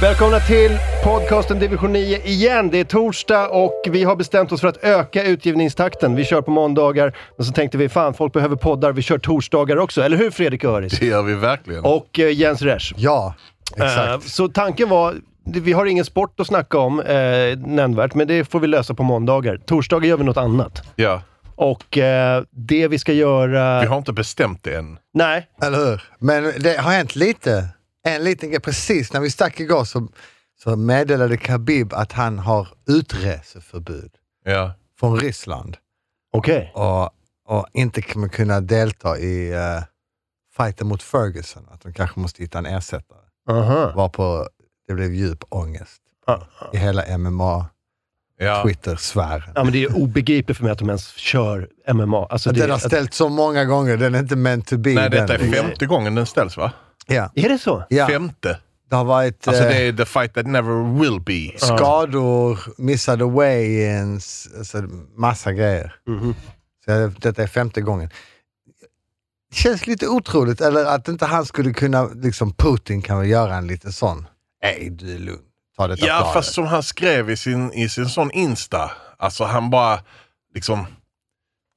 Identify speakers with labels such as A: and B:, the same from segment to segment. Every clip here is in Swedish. A: Välkomna till podcasten Division 9 igen. Det är torsdag och vi har bestämt oss för att öka utgivningstakten. Vi kör på måndagar, men så tänkte vi fan, folk behöver poddar. Vi kör torsdagar också, eller hur Fredrik Öris?
B: Det gör vi verkligen.
A: Och eh, Jens Resch.
C: Ja, exakt.
A: Eh, Så tanken var, vi har ingen sport att snacka om eh, nämnvärt, men det får vi lösa på måndagar. Torsdagar gör vi något annat.
B: Ja.
A: Och eh, det vi ska göra...
B: Vi har inte bestämt det än.
A: Nej,
C: Eller hur? Men det har hänt lite. En liten grej, precis när vi stack igår så, så meddelade Khabib att han har utreseförbud
B: Ja.
C: från Ryssland
A: okej.
C: och, och inte kommer kunna delta i eh, fighten mot Ferguson. Att de kanske måste hitta en ersättare.
A: Aha.
C: Varpå det blev djup ångest
A: Ah.
C: i hela MMA-twitter-sfären.
B: ja.
A: Ja, men det är obegripligt för mig att de ens kör MMA. Alltså, det,
C: den har
A: att-
C: ställt så många gånger, den är inte meant to be.
B: Nej, detta är
C: den.
B: femte gången den ställs va?
C: Ja.
A: är det så?
C: Ja.
B: Femte.
C: Det har varit...
B: Alltså
C: eh,
B: det är the fight that never will be.
C: skador, missade weigh-ins, alltså massa grejer.
A: Mhm.
C: Så jag, detta är femte gången. Det känns lite otroligt, eller att inte han skulle kunna, liksom Putin kan väl göra en liten sån, nej du är lugn, ta detta
B: Ja,
C: planet.
B: fast som han skrev i sin, i sin sån Insta. Alltså han bara liksom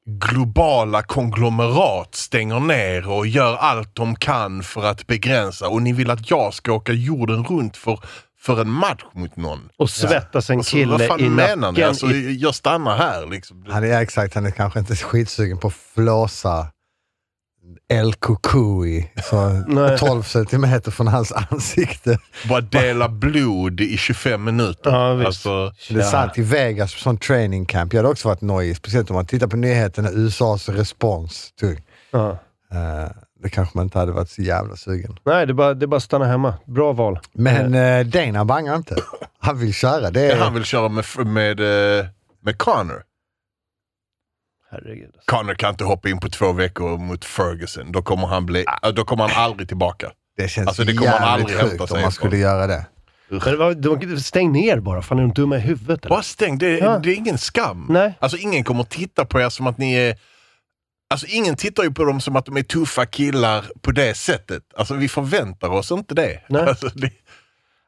B: globala konglomerat stänger ner och gör allt de kan för att begränsa. Och ni vill att jag ska åka jorden runt för, för en match mot någon.
A: Och svettas en
B: Alltså, vad
A: kille
B: fan
A: i
B: menar ni?
A: nacken.
B: Alltså,
A: i...
B: jag stannar här liksom.
C: Han är, ja, exakt, han är kanske inte skitsugen på att flåsa El Kukui, så
A: Nej.
C: 12 centimeter från hans ansikte.
B: Bara dela blod i 25 minuter.
A: Ja, visst.
B: Alltså,
C: Det är
A: Ja.
C: sant, i Vegas på sån training camp. Jag hade också varit nojig, speciellt om man tittar på nyheterna, USAs respons. Typ, Tung.
A: Ja.
C: Eh, det kanske man inte hade varit så jävla sugen.
A: Nej, det är, bara, det är bara att stanna hemma. Bra val.
C: Men eh, Dana bangar inte. Han vill köra. Det är,
B: han vill köra med, med, eh, med Connor.
A: Herregud. alltså.
B: Connor kan inte hoppa in på två veckor mot Ferguson. Då kommer han, bli,
A: Ah.
B: äh, då kommer han aldrig tillbaka.
C: det känns
B: Alltså, det kommer han aldrig
C: jävligt
B: hämta
C: sjukt
B: sig
C: om man
B: ifrån.
C: skulle göra det.
A: Men vad- de- stäng ner bara. Fan, är de dumma i huvudet eller?
B: Bara stäng, det,
A: Ja.
B: det är ingen skam.
A: Nej.
B: Alltså ingen kommer titta på er som att ni är... Alltså ingen tittar ju på dem som att de är tuffa killar på det sättet. Alltså vi förväntar oss inte det.
A: Nej.
B: Alltså, det,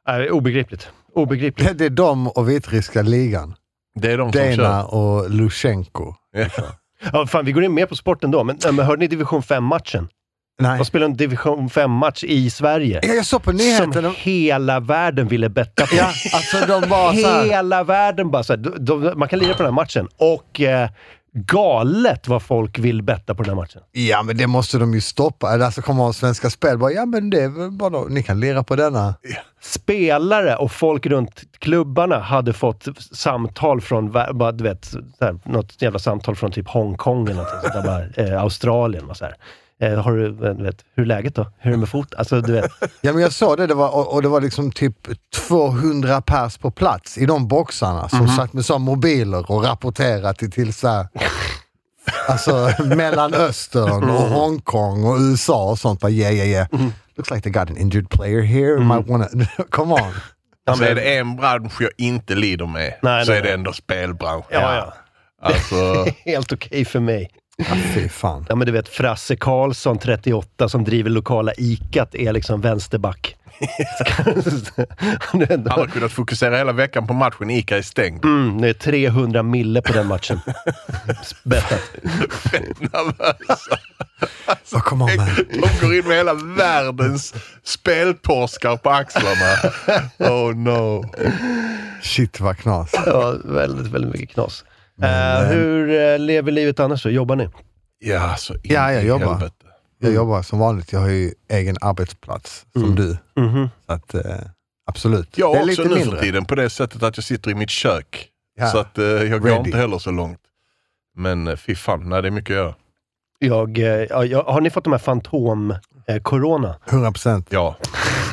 A: Nej, det är obegripligt. Obegripligt.
C: Det, det är de och vitryska ligan.
B: det är de som kör.
C: Dana och Lushenko.
B: Ja.
A: Ja, fan, vi går in mer på sporten då. Men, äh, men hörde ni division 5-matchen?
C: Nej.
A: De spelar en division 5-match i Sverige.
C: Jag såg på nyheterna.
A: Som hela världen ville betta på.
C: Ja, alltså de var såhär.
A: Hela världen bara såhär, de, de, man kan lira på den här matchen. Och eh, galet vad folk vill betta på den här matchen.
C: Ja men det måste de ju stoppa. Eller Alltså kommer Svenska Spel bara, ja men det är väl bara, ni kan lira på denna.
A: Spelare och folk runt klubbarna hade fått samtal från, vä- bara, du vet, så här, något jävla samtal från typ Hongkong eller något sånt där, bara, eh, Australien. Och så här. Eh, har du, eh, du vet, hur är läget då? Hur är det med fot? Alltså, du vet.
C: Ja men jag såg det, det var, och, och det var liksom typ 200 pers på plats i de boxarna som
B: Mhm.
C: satt med så här mobiler och rapporterade till, till så här, alltså Mellanöstern och
B: Mhm.
C: Hongkong och USA och sånt. Bara, yeah, yeah, yeah. Looks like they got an injured player here. Might
B: Mhm.
C: wanna, come on.
B: Alltså,
A: men-
B: är det en bransch jag inte lider med
A: Nej,
B: så
A: nej,
B: är det
A: nej.
B: ändå spelbranschen.
A: Ja, ja.
B: Alltså,
A: Helt okej för mig.
C: Ja, fy fan.
A: Ja, men du vet, Frasse Karlsson, 38, som driver lokala ICAt, är liksom vänsterback. Han är ändå-
B: han har kunnat fokusera hela veckan på matchen. Ica är stängd.
A: Mm, det är 300 mille på den matchen. Bettat.
B: Nervösa.
C: Så come on man.
B: De går in med hela världens speltorskar på axlarna. Oh no.
C: Shit vad knas.
A: Ja, väldigt, väldigt mycket knas. Eh, hur eh, lever livet annars då? Jobbar ni?
B: Ja, så in
C: Ja, jag
B: i
C: jobbar.
B: helvete.
C: Jag jobbar som vanligt. Jag har ju egen arbetsplats som du.
A: Mhm.
C: Så att, eh,
B: Mm.
C: absolut.
B: Jag är också nu för tiden på det sättet att jag sitter i mitt kök.
C: Ja.
B: Så att eh, jag går
C: Ready.
B: inte heller så långt. Men eh, fy fan, nej, det är mycket att göra.
A: Jag, eh, ja, jag, har ni fått de här eh, fantom-corona?
C: 100 procent.
B: Ja.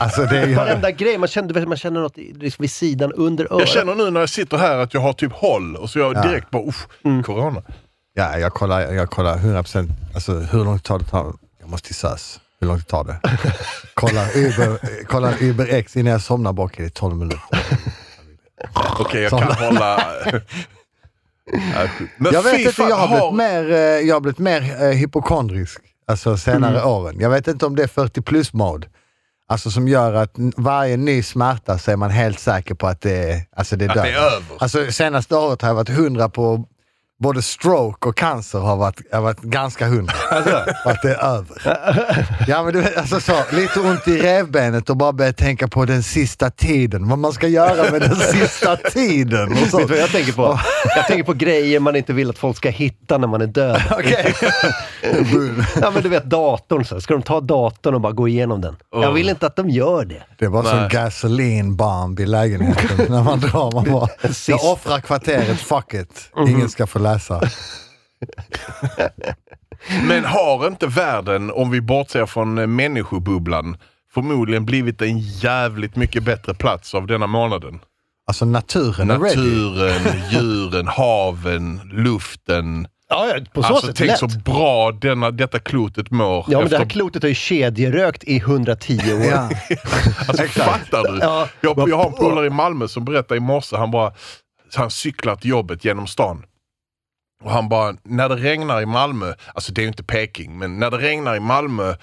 C: Alltså det är ju...
A: Varenda grej, man känner, man känner något i- liksom vid sidan under
B: Jag
A: örat.
B: känner nu när jag sitter här att jag har typ håll och så jag
C: Ja. Mm.
B: direkt bara usch, corona.
C: Ja, jag kollar, jag kollar 100%. Alltså hur långt tar det? Tar, jag måste till SÖS. Hur långt tar det? kolla Uber, kolla Uber X innan jag somnar bak i det 12 minuter.
B: Okej, jag
C: Sån-
B: kan hålla... Nej, sjukt. Men
C: Jag vet
B: fy
C: inte,
B: fan,
C: jag har
B: har-
C: blivit mer, eh, jag har
B: Mm.
C: blivit mer eh, hypokondrisk alltså senare åren. Jag vet inte om det är 40 plus mode. Alltså som gör att n- varje ny smärta så är man helt säker på att det är, alltså det är
B: Att det är
C: döden.
B: över.
C: Alltså senaste året har jag varit hundra på både stroke och cancer har varit, har varit ganska hundra.
B: Alltså.
C: På att det är över. Ja men du vet, alltså så, lite ont i revbenet och bara börja tänka på den sista tiden. Vad man ska göra med den sista tiden och
A: Vet du
C: sånt.
A: vad jag tänker på? Jag tänker på grejer man inte vill att folk ska hitta när man är död.
C: Okej.
A: Ja, men du vet datorn. Så. här. Ska de ta datorn och bara gå igenom den? Jag vill inte att de gör det.
C: Det var som
B: Nej.
C: gasoline bomb i lägenheten när man drar. Man bara, jag offrar kvarteret, fuck it.
A: Mhm.
C: Ingen ska få läsa.
B: Men har inte världen, om vi bortser från eh, människobubblan, förmodligen blivit en jävligt mycket bättre plats av denna månaden?
C: Alltså naturen är ready.
B: Naturen, djuren, haven, luften.
A: Ja, ja, på så
B: alltså
A: sätt.
B: tänk
A: lätt.
B: så bra denna, detta klotet mår.
A: Ja, men det
B: efter-
A: här klotet har ju kedjerökt i 110 år.
C: Ja.
B: alltså, fattar du?
A: Ja.
B: Jag, jag har en polare i Malmö som berättade i morse, han bara, han cyklar till jobbet genom stan. Och han bara, när det regnar i Malmö, alltså det är ju inte Peking, men när det regnar i Malmö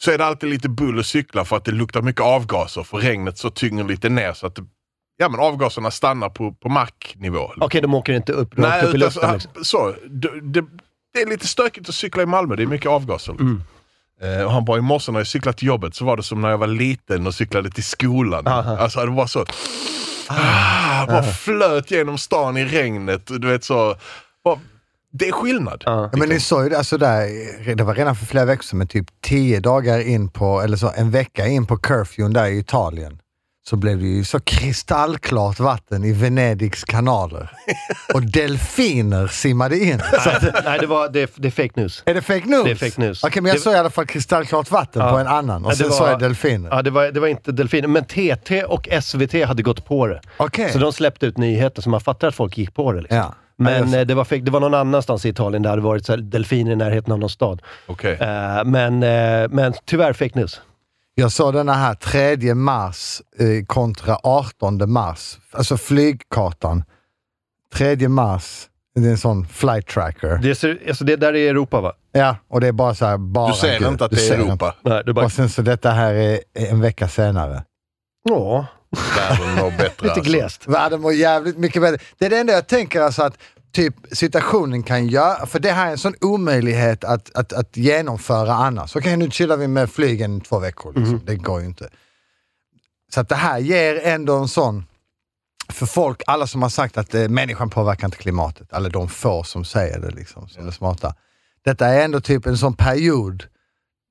B: så är det alltid lite bull att cykla för att det luktar mycket avgaser. För regnet så tynger lite ner så att det, ja, men avgaserna stannar på, på marknivå.
A: Okej, de åker inte upp, rakt
B: Nej,
A: upp i
B: utan
A: luften.
B: så-
A: Liksom.
B: så, det, det, det är lite stökigt att cykla i Malmö, det är mycket avgaser.
A: Mm.
B: liksom. Eh, och han bara, i morse när jag cyklade till jobbet så var det som när jag var liten och cyklade till skolan.
A: Aha.
B: Alltså det var så... Ah, bara flöt genom stan i regnet. Du vet så... Bara, det är skillnad.
C: Ja, men ni såg ju det, alltså där, det var redan för flera veckor sedan, men typ tio dagar in på, eller så en vecka in på curfewn där i Italien, så blev det ju så kristallklart vatten i Venedigs kanaler. Och delfiner simmade in. Så,
A: Nej, det, var, det, det är fake news.
C: är det fake news?
A: Det är fake news.
C: Okej, men jag
A: Det-
C: såg i alla fall kristallklart vatten
A: Ja.
C: på en annan och
A: Ja, det
C: sen
A: var-
C: såg jag delfiner.
A: Ja, det var, det var inte delfiner, men TT och SVT hade gått på det.
C: Okej.
A: Så de släppte ut nyheter, så man fattar att folk gick på det. Liksom.
C: Ja. Ja,
A: Men
C: just-
A: eh, det var, fake, det var någon annanstans i Italien där det hade varit så här, delfiner i närheten av någon stad.
B: Okej.
A: Eh, men, eh, men tyvärr fake news.
C: Jag såg denna här 3 mars eh, kontra 18 mars, alltså flygkartan. 3 mars, det är en sån flight tracker.
A: Det, ser, alltså det där är Europa va?
C: Ja, och det är bara så här, bara
B: Du ser
C: Gud.
B: inte att
C: Du
B: det är
C: ser inte.
B: Europa.
A: Nej, det är bara...
C: Och sen så detta här är en vecka senare.
A: Ja,
B: Världen mår bättre.
A: lite
B: alltså.
A: glest.
C: Världen mår jävligt mycket bättre. Det är det enda jag tänker alltså att typ situationen kan göra, för det här är en sån omöjlighet att, att, att genomföra annars. Okej, nu chillar vi med flygen två veckor. Liksom. Det går ju inte. Så att det här ger ändå en sån, för folk, alla som har sagt att eh, människan påverkar inte klimatet, eller de få som säger det liksom, som är smarta. Detta är ändå typ en sån period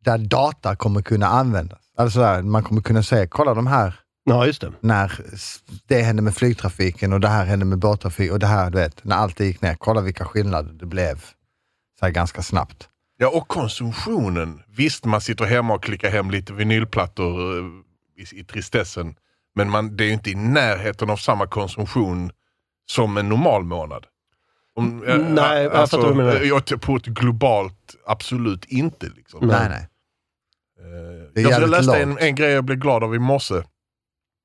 C: där data kommer kunna användas. Alltså där, man kommer kunna säga, kolla de här
A: Ja, just det.
C: när s- det hände med flygtrafiken och det här hände med båttrafik och det här, du vet, när allt det gick ner. Kolla vilka skillnader det blev så här ganska snabbt.
B: Ja, och konsumtionen. Visst, man sitter hemma och klickar hem lite vinylplattor eh, i, i tristessen. Men man, det är ju inte i närheten av samma konsumtion som en normal månad. Om, eh,
A: Mm, nej, jag fattar vad du menar.
B: eh, jag t- på ett globalt, absolut inte. Liksom.
A: Nej.
C: nej.
B: Eh,
C: Det är
B: jag, tror jag
C: jävligt
B: läste en,
C: lågt.
B: en grej jag blev glad av i morse.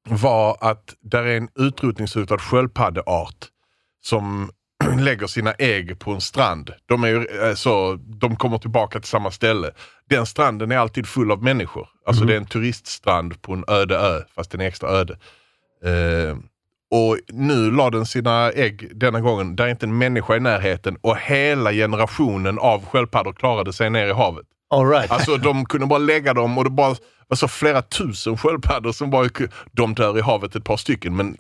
B: Var att där är en utrotningshotad sköldpaddeart som lägger sina ägg på en strand. De, är ju, eh, så, de kommer tillbaka till samma ställe. Den stranden är alltid full av människor. Alltså
C: Mhm.
B: det är en turiststrand på en öde ö, fast den är extra öde. Eh, och nu la den sina ägg denna gången. Där är inte en människa i närheten och hela generationen av sköldpaddor klarade sig ner i havet.
A: All right.
B: Alltså de kunde bara lägga dem och det bara alltså, flera tusen sköldpaddor som bara... De dör i havet ett par stycken men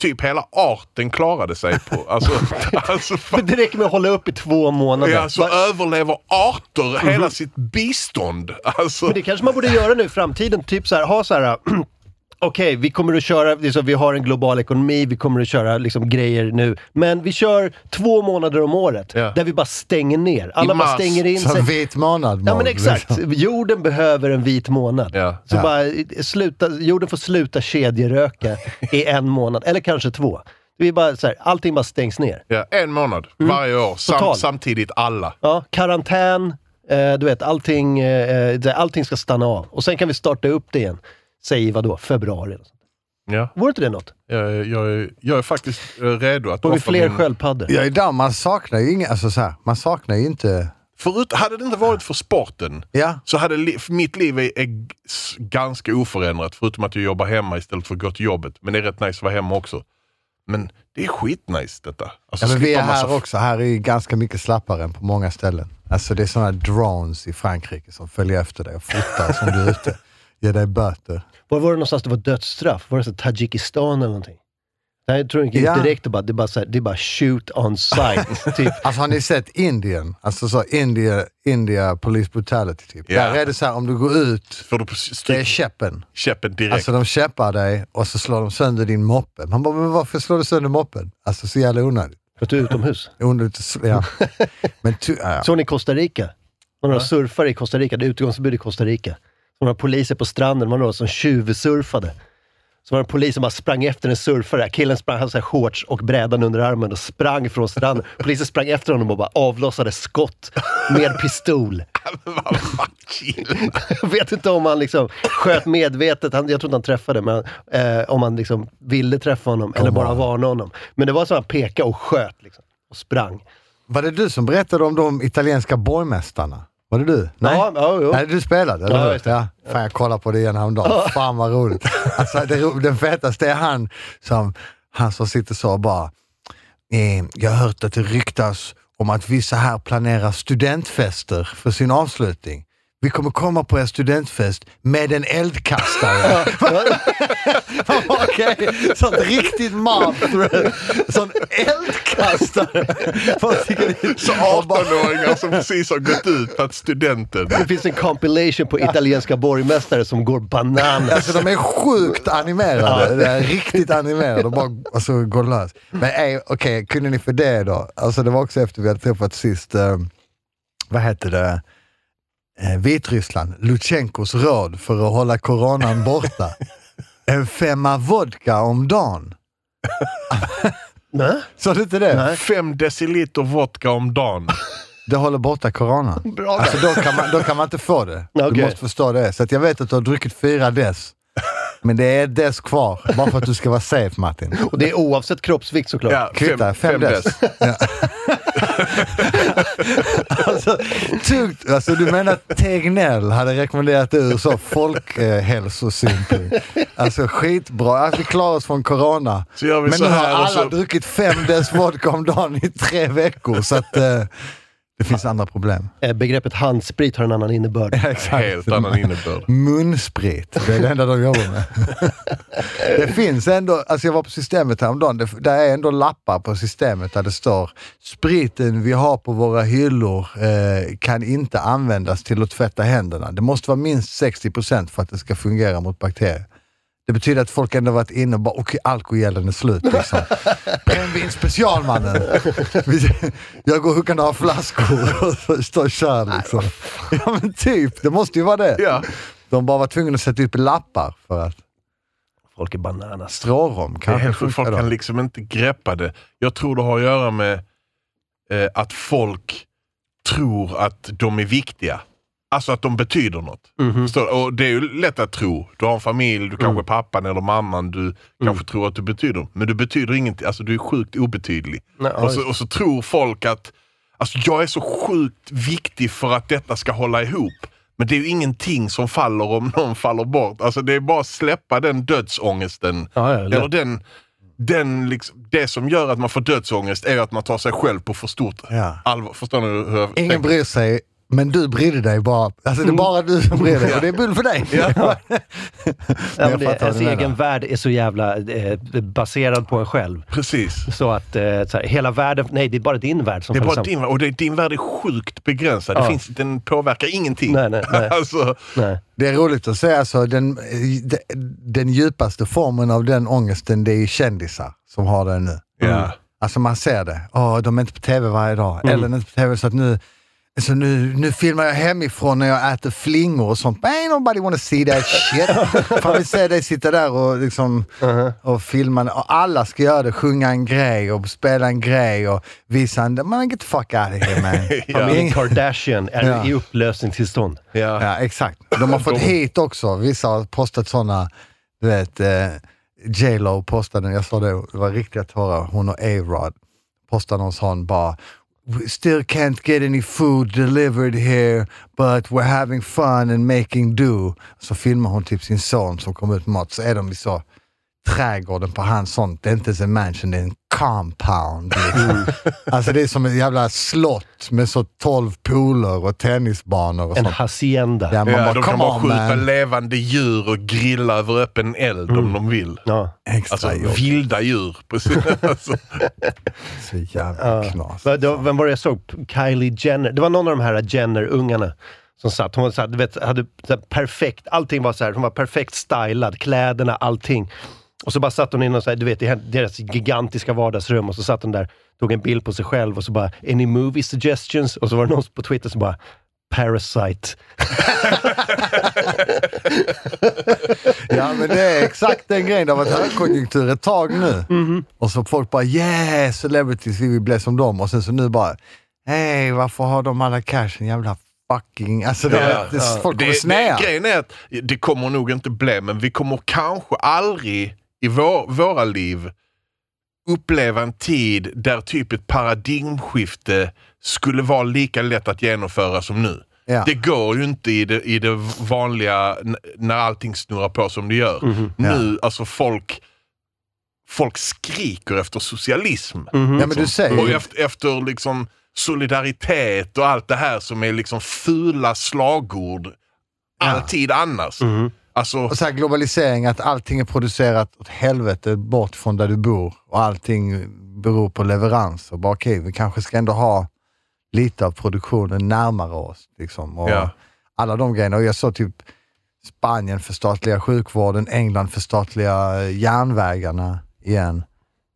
B: typ hela arten klarade sig på... Alltså, alltså, fan,
A: Men det räcker med att hålla upp i två månader.
B: ja, alltså
A: Va- Mhm.
B: överlever arter hela sitt bistånd. Alltså,
A: Men det kanske man borde göra nu i framtiden. Typ så här, ha så här... Okej, vi kommer att köra, det är så, vi har en global ekonomi, vi kommer att köra liksom, grejer nu. Men vi kör två månader om året,
B: Ja.
A: där vi bara stänger ner. Alla bara
B: mars.
A: stänger in
C: Så
A: sig.
C: en vit månad.
A: Ja
C: Mård,
A: men exakt.
C: liksom.
A: Jorden behöver en vit månad.
B: Ja.
A: Så
C: Ja.
A: bara eh, sluta, jorden får sluta kedjeröka i en månad, eller kanske två. Det är bara så här, allting bara stängs ner.
B: ja, en månad varje år, sam,
A: Mm. Total.
B: samtidigt alla.
A: Ja, karantän, eh, du vet, allting, eh, det- allting ska stanna av. Och sen kan vi starta upp det igen. Säg vad då? februari? eller sånt.
B: Ja,
A: Vore inte det något?
B: jag, jag, är- jag är faktiskt eh, redo att
A: Får vi
B: offra
A: fler
B: min-
A: sköldpaddor?
C: Ja, idag man saknar ju inga, alltså så här, man saknar ju inte
B: Förut, hade det inte varit för sporten
C: Ja,
B: så hade li- mitt liv är, är g- s- ganska oförändrat. Förutom att jag jobbar hemma istället för att gå till jobbet. Men det är rätt nice att vara hemma också. Men det är skitnice detta. Alltså,
C: ja men vi är
B: slippa massa
C: här
B: f-
C: också. Här är ju ganska mycket slappare än på många ställen. Alltså det är sådana drones i Frankrike som följer efter dig och fotar som du är ute. Ger dig böter.
A: Var var det någonstans det var dödsstraff? Var det så Tadzjikistan eller någonting? Nej, jag tror inte
C: Ja.
A: direkt. Det är bara, det är bara, så här, det är bara shoot on sight. typ.
C: Alltså har ni sett Indien? Alltså så India, India Police Brutality typ.
B: Ja.
C: Där är det så här om du går ut,
B: Får du på
C: det är
B: stryk
C: käppen.
B: käppen direkt.
C: Alltså de käppar dig och så slår de sönder din moppe. Man bara, men varför slår du sönder moppen? Alltså så jävla onödigt.
A: För att du är utomhus.
C: Onödigt att sl- ja. Men ty- ja.
A: Såg ni Costa Rica? Man har surfare i Costa Rica. Det är utegångsförbud i Costa Rica. Så några poliser på stranden. Man har några som tjuvsurfade. Så var det en polis som bara sprang efter en surfare. Killen sprang, hade så här shorts och brädan under armen och sprang från stranden. Polisen sprang efter honom och bara avlossade skott med pistol.
B: Vad fan, chill.
A: Jag vet inte om han liksom sköt medvetet, han, jag tror inte han träffade, men eh, om han liksom ville träffa honom eller bara
C: on.
A: varna honom. Men det var så att han pekade och sköt liksom, och sprang.
C: Var det du som berättade om de italienska borgmästarna? Var det du? Nej?
A: Ja, ja, jo.
C: Nej, du spelade, eller
A: Ja,
C: hur?
A: just det.
C: Ja. Fan, jag kollade på det igen häromdagen. Fan vad roligt. Alltså, det, ro- den fetaste är han som, han som sitter så och bara, eh, jag har hört att det ryktas om att vissa här planerar studentfester för sin avslutning. Vi kommer komma på er studentfest med en eldkastare. Okej, sånt riktigt mouth Sån eldkastare. Folk sticker dit.
B: Så
C: Och bara-
B: 18-åringar som precis har gått ut på att studenten...
A: Det finns en compilation på italienska borgmästare som går bananas.
C: Alltså de är sjukt animerade. Det är riktigt animerade. De bara alltså, går lös. Men ey, okej, kunde ni för det då? Alltså det var också efter vi hade träffat sist, eh, vad hette det, eh, Vitryssland, Lutjenkos råd för att hålla coronan borta. En femma vodka om dagen.
A: Nej,
C: Sa du inte det?
A: Nej.
B: Fem deciliter vodka om dagen.
C: Det håller borta coronan.
A: bra
C: Alltså då kan man, då kan man inte få det. Du
A: Okej.
C: måste förstå det. Så att jag vet att du har druckit fyra dess. Men det är ett dess kvar, bara för att du ska vara safe Martin.
A: Och det är oavsett kroppsvikt såklart.
B: Ja,
C: Kvittar, fem, dess. alltså, tungt. Alltså, du menar att Tegnell hade rekommenderat det ur så folkhälsosynpunkt? Alltså skitbra. Alltså, vi klarar oss från corona.
B: Så gör vi
C: Men
B: så
C: nu har
B: här och
C: alla
B: så-
C: druckit fem dess vodka om dagen i tre veckor, så att eh, det finns andra problem.
A: Eh, Begreppet handsprit har en annan innebörd.
B: Helt annan innebörd.
C: Munsprit, det är det enda de jobbar med. det finns ändå, alltså jag var på systemet häromdagen, det, där är ändå lappar på systemet där det står spriten vi har på våra hyllor eh, kan inte användas till att tvätta händerna. Det måste vara minst 60% för att det ska fungera mot bakterier. Det betyder att folk ändå varit inne och bara, okej, alkogelen är slut liksom. Brännvin specialmannen! Jag går och kan ha flaskor och så står och kör liksom. Ja men typ, det måste ju vara det.
B: Ja.
C: De bara var tvungna att sätta upp lappar för att
A: Folk är bananas.
C: strårom
B: Det är
C: kanske
B: helt sjukt. Folk
C: funkar
B: kan
C: då.
B: liksom inte greppa det. Jag tror det har att göra med eh, att folk tror att de är viktiga. Alltså att de betyder något. Förstår du? Och det är ju lätt att tro. Du har en familj, du kanske är pappan eller mamman. Du kanske tror att du betyder något. Men du betyder ingenting. Alltså du är sjukt obetydlig.
A: Nej, ja,
B: och, så, och så tror folk att alltså, jag är så sjukt viktig för att detta ska hålla ihop. Men det är ju ingenting som faller om någon faller bort. Alltså det är bara att släppa den dödsångesten.
A: Ja, ja, lätt.
B: Eller den, den liksom, det som gör att man får dödsångest är ju att man tar sig själv på för stort
C: Ja.
B: allvar. Förstår ni hur jag
C: Ingen
B: tänker?
C: bryr sig, men du brydde dig bara. Alltså
B: Mm.
C: det är bara du som bryr dig och det är bull för dig.
A: Ja,
C: Men
A: men
C: jag
A: det,
C: fattar vad
A: ens
C: du menar.
A: egen värld är så jävla eh, baserad på en själv.
B: Precis. Alltså.
A: Så att eh, så här, hela världen, nej det är bara din värld som
B: Det är
A: faller
B: bara
A: samman.
B: din, och det, din värld är sjukt begränsad.
A: Ja.
B: Det finns, den påverkar ingenting.
A: Nej, nej, nej.
B: alltså,
A: Nej.
C: Det är roligt att säga så, den, den djupaste formen av den ångesten, det är kändisar som har den nu.
B: ja.
C: Alltså man ser det. Åh, de är inte på tv varje dag. Ellen är inte på tv, så att nu, så nu, nu filmar jag hemifrån när jag äter flingor och sånt. Ain't nobody wanna see that shit. Fan, vi ser dig sitta där och, liksom, och filma. Och alla ska göra det. Sjunga en grej och spela en grej och visa en... Man get the fuck out of here man.
A: Familjen Kardashian är
C: Ja.
A: i upplösningstillstånd.
B: Ja.
C: Ja, exakt. De har fått hit också. Vissa har postat sådana, du vet, eh, J.Lo postade, jag sa det, det var riktiga tårar, hon och A-Rod postade någon sån bara we still can't get any food delivered here, but we're having fun and making do. Så filmar hon typ sin son som kommer ut med mat, så är de i så trädgården på hans sånt. Det är inte ens en mansion, det är en compound. Liksom. alltså det är som ett jävla slott med så 12 pooler och tennisbanor och
A: En
C: sånt.
A: hacienda.
C: Där man
B: Ja,
C: bara,
B: de kan
C: come
B: bara
C: on
B: skjuta
C: man.
B: levande djur och grilla över öppen eld om de vill.
A: Ja.
C: Extra
B: Alltså
C: jobb.
B: vilda djur. Precis. alltså,
C: Så jävla knas.
A: Va- det var- Vem var det jag såg? Kylie Jenner. Det var någon av de här Jenner-ungarna som satt. Hon var så här, du vet, hade så här perfekt, allting var så här, hon var perfekt stylad, kläderna, allting. Och så bara satt hon i någon så här, du vet, i hen- deras gigantiska vardagsrum och så satt hon där, tog en bild på sig själv och så bara, any movie suggestions? Och så var det någon på Twitter som bara, Parasite.
C: Ja, men det är exakt den grejen. Det har varit högkonjunktur ett tag nu. Och så folk bara yeah, celebrities, vi vill bli som dem. Och sen så nu bara, hej, varför har de alla cashen? Jävla fucking... Alltså, det,
B: Ja,
C: det, folk kommer
B: det, det,
C: snea.
B: grejen är att det kommer nog inte bli, men vi kommer kanske aldrig i vår, våra liv uppleva en tid där typ ett paradigmskifte skulle vara lika lätt att genomföra som nu.
C: Ja.
B: Det går ju inte i det, i det vanliga, n- när allting snurrar på som det gör. Nu, alltså folk, folk skriker efter socialism.
C: Ja, men du
B: Och
C: säger
B: efter, efter liksom solidaritet och allt det här som är liksom fula slagord alltid annars.
C: Mm.
A: Mm-hmm.
B: Alltså,
C: och så här globalisering, att allting är producerat åt helvete bort från där du bor och allting beror på leverans. Och bara okej, vi kanske ska ändå ha lite av produktionen närmare oss. Liksom. Och
B: Ja.
C: Alla de grejerna. Och jag såg typ Spanien förstatliga sjukvården, England förstatliga järnvägarna igen.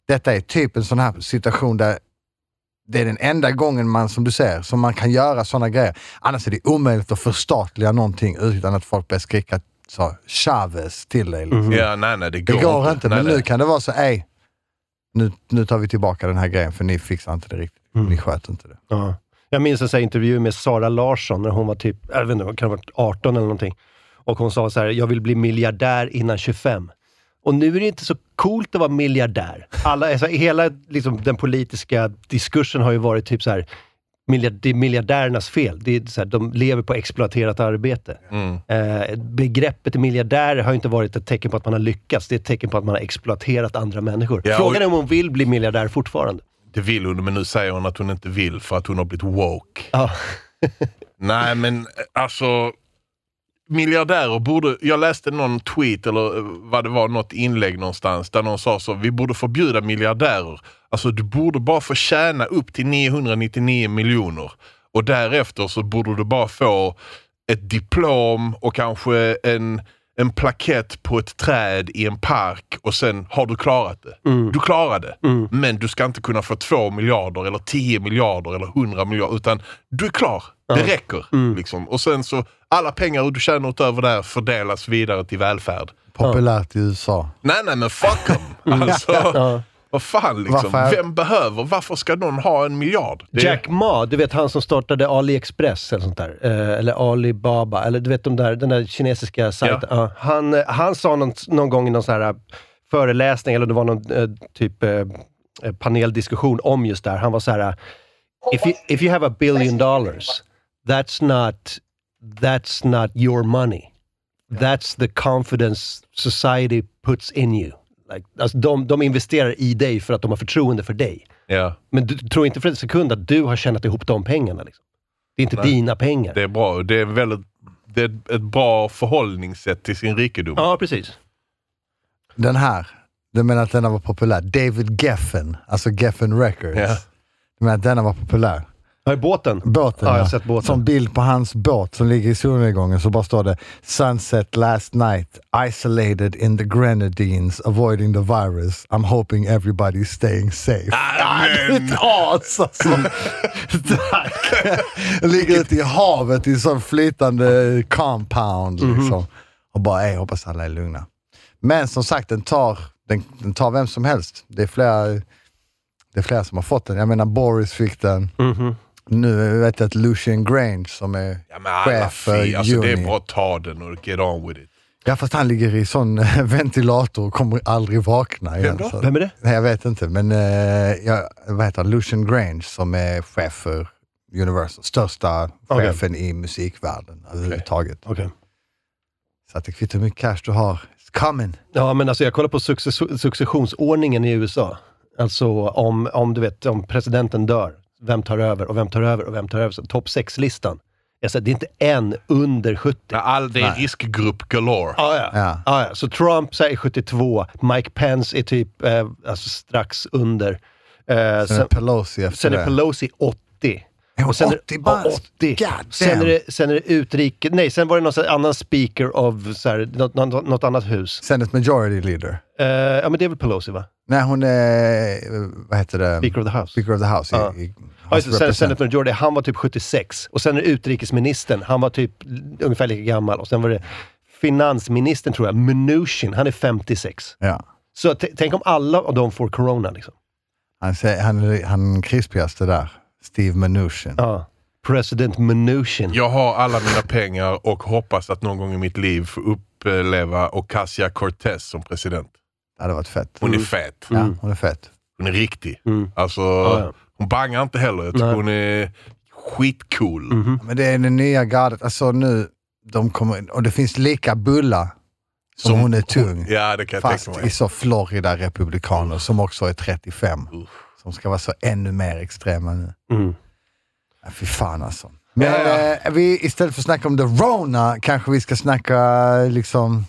C: Detta är typ en sån här situation där det är den enda gången man, som du säger, som man kan göra såna grejer. Annars är det omöjligt att förstatliga någonting utan att folk börjar skrika så, Chavez till dig. Liksom.
B: ja, nej, nej, det går,
C: Det går inte, men
B: Mm-hmm. nej,
C: nu
B: nej.
C: kan det vara så, ej, nu, nu tar vi tillbaka den här grejen för ni fixar inte det riktigt.
B: Mm.
C: Ni sköter inte det.
A: Ja. Jag minns en sån här intervju med Sara Larsson när hon var typ, jag vet inte, hon kan ha varit 18 eller någonting. Och hon sa så här, jag vill bli miljardär innan 25. Och nu är det inte så coolt att vara miljardär. Alla, alltså, hela liksom, den politiska diskursen har ju varit typ så här, miljard, det är miljardärernas fel. Det är så här, de lever på exploaterat arbete.
B: Mm.
A: Eh, begreppet miljardär har ju inte varit ett tecken på att man har lyckats. Det är ett tecken på att man har exploaterat andra människor.
B: Ja, och-
A: Frågan är om hon vill bli miljardär fortfarande.
B: Det vill hon, men nu säger hon att hon inte vill för att hon har blivit woke.
A: Ja.
B: Nej, men alltså... Miljardärer borde... Jag läste någon tweet eller eh, vad det var, något inlägg någonstans där någon sa så, vi borde förbjuda miljardärer. Alltså du borde bara få tjäna upp till 999 miljoner och därefter så borde du bara få ett diplom och kanske en, en plakett på ett träd i en park och sen har du klarat det. Du klarade det. Men du ska inte kunna få 2 miljarder eller 10 miljarder eller 100 miljarder utan du är klar. Det räcker. Liksom. Och sen så alla pengar du tjänar utöver det här fördelas vidare till välfärd.
C: Populärt i USA.
B: Nej, nej, men fuck them! Alltså, Vad fan liksom.
C: Varför?
B: Vem behöver, varför ska någon ha en miljard? Det är-
A: Jack Ma, du vet han som startade AliExpress eller sånt där. Eh, eller Alibaba, eller du vet de där, den där kinesiska sajten. Ja, han, eh, han sa någon, någon gång i någon så här eh, föreläsning, eller det var någon eh, typ eh, eh, paneldiskussion om just det här. Han var så här, eh, if you, if you have a billion dollars, that's not, that's not your money. That's the confidence society puts in you. Like, alltså de, de investerar i dig för att de har förtroende för dig.
B: Ja,
A: Men du tror inte för en sekund att du har tjänat ihop de pengarna? Liksom. Det är inte dina pengar.
B: det är bra. Det är, väldigt, det är ett bra förhållningssätt till sin rikedom.
A: Ja, precis.
C: Den här, du menar att denna var populär? David Geffen, alltså Geffen Records.
B: Ja.
C: Du menar att denna var populär?
A: Har jag båten?
C: Båten,
A: Ja, jag har sett båten.
C: Som bild på hans båt som ligger i solnedgången så bara står det “Sunset last night, isolated in the Grenadines, avoiding the virus. I'm hoping everybody's staying safe”.
B: Ah, men-
C: Ett as alltså! Tack! Ligger ute i havet i en sån flytande compound
A: Mhm.
C: liksom. Och bara, ey, hoppas alla är lugna. Men som sagt, den tar, den, den tar vem som helst. Det är flera det är flera som har fått den. Jag menar Boris fick den.
A: Mhm.
C: Nu vet jag att Lucian Grange som är
B: Ja, men alla
C: chef för
B: fi, alltså, det är
C: Uni.
B: bara att ta den och get on with it.
C: Ja, fast han ligger i sån eh, ventilator och kommer aldrig vakna igen.
B: då?
C: så-
A: Vem är det?
C: Nej, jag vet inte, men eh, jag, vad heter han? Lucian Grange som är chef för Universal, största
A: Okej.
C: chefen i musikvärlden överhuvudtaget.
A: Okej.
C: Så att det kvittar hur mycket cash du har, it's coming.
A: Ja, men alltså jag kollar på success- successionsordningen i USA. Alltså om, om du vet, om presidenten dör, vem tar över och vem tar över och vem tar över? Så Topp 6-listan. Jag säger, det är inte en under 70.
B: Ja, all, det är
C: Nej.
B: riskgrupp galore.
A: Ah, ja.
C: Ja.
A: Ah, ja. Så Trump så här, är 72, Mike Pence är typ eh, alltså strax under. Eh,
C: Sen,
A: sen,
C: är Pelosi efter
A: sen är
C: det.
A: Pelosi 80.
C: Är hon
A: Och sen är-
C: 80 bast?
A: Ja, 80.
C: God
A: Sen är,
C: damn.
A: det, sen är det utrike... Nej, sen var det någon så här annan speaker av så här, något, något, något annat hus.
C: Senate Majority Leader.
A: Eh, ja, men det är väl Pelosi, va?
C: Nej, hon är, eh, vad heter det?
A: Speaker of the House.
C: Speaker of the House.
A: Ja.
C: I, i
A: Ja, just det. sen,
C: Represent-
A: senator Jordan, han var typ 76. Och sen är det utrikesministern, han var typ l- ungefär lika gammal. Och sen var det finansministern, tror jag, Mnuchin, han är 56.
C: ja.
A: Så t- tänk om alla av dem får corona. Liksom.
C: Han, säger, han, är- han krispigaste där, Steve Mnuchin.
A: Ja. President Mnuchin.
B: Jag har alla mina pengar och hoppas att någon gång i mitt liv få uppleva Ocasio Cortez som president.
C: Det hade varit fett.
B: Hon är fet.
C: Ja, hon är fett.
B: Hon är riktig.
A: Mm.
B: Alltså,
A: ja.
B: hon bangar inte heller. Jag tycker
A: Nej.
B: hon är skitcool.
A: Mhm.
C: Men det är det nya gardet. Alltså nu, de kommer in, och det finns lika bulla som, hon är tung.
B: Ja, det kan jag
C: Fast
B: tänka
C: i
B: mig.
C: så Florida-republikaner som också är 35. Som ska vara så ännu mer extrema nu.
A: Mm.
C: Ja, fy fan alltså. Men
B: Ja, ja.
C: eh, vi, istället för att snacka om The Rona kanske vi ska snacka liksom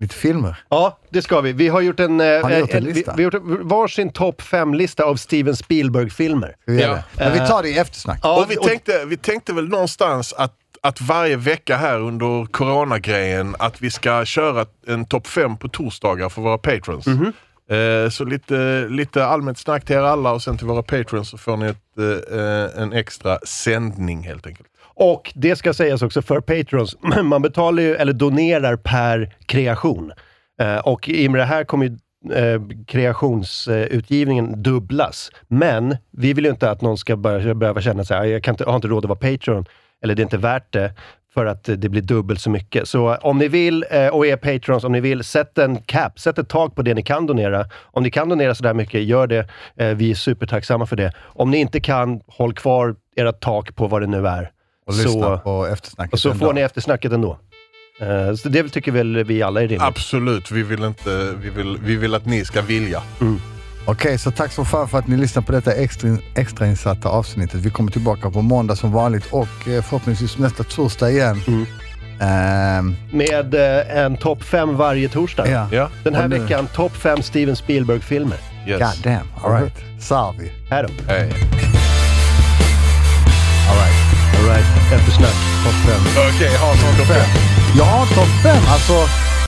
C: lite filmer.
A: Ja, det ska vi. Vi har gjort en, eh,
C: Har ni gjort en
A: vi,
C: lista?
A: vi har gjort en- varsin topp fem-lista av Steven Spielberg-filmer.
C: Ska vi göra
B: Ja.
C: det? Men vi tar det i eftersnack.
A: Ja,
B: Och vi tänkte, vi tänkte väl någonstans att, att varje vecka här under coronagrejen att vi ska köra en topp fem på torsdagar för våra patrons. Eh, Så lite, lite allmänt snack till er alla och sen till våra patrons så får ni ett, eh, eh, en extra sändning helt enkelt.
A: Och det ska sägas också för patrons, man betalar ju, eller donerar per kreation. Eh, och i och med det här kommer ju eh, kreationsutgivningen dubblas. Men vi vill ju inte att någon ska börja, behöva känna så här, jag, kan inte, jag har inte råd att vara Patreon, eller det är inte värt det, för att eh, det blir dubbelt så mycket. Så eh, om ni vill, eh, och är patrons, om ni vill, sätt en cap, sätt ett tak på det ni kan donera. Om ni kan donera sådär mycket, gör det. Eh, vi är supertacksamma för det. Om ni inte kan, håll kvar era tak på vad det nu är.
C: Och lyssna
A: Så-
C: på eftersnacket.
A: Och så
C: ändå.
A: får ni eftersnacket ändå. Eh, Så det tycker väl vi alla är rimligt.
B: Absolut, vi vill, inte, vi, vill, vi vill att ni ska vilja.
C: Okej, så tack så fan för att ni lyssnar på detta extra, extrainsatta avsnittet. Vi kommer tillbaka på måndag som vanligt och eh, förhoppningsvis nästa torsdag igen. Ehm,
A: Med eh, en topp fem varje torsdag.
C: ja.
B: Ja,
A: Den här
C: Och nu-
A: veckan, topp fem Steven Spielberg-filmer.
B: yes.
C: God damn. All right. Salvi.
A: Här då.
B: Hej.
C: All right.
A: All right. Eftersnack.
C: Topp fem.
B: Okej, ha någon topp fem.
C: Ja, topp fem. Alltså...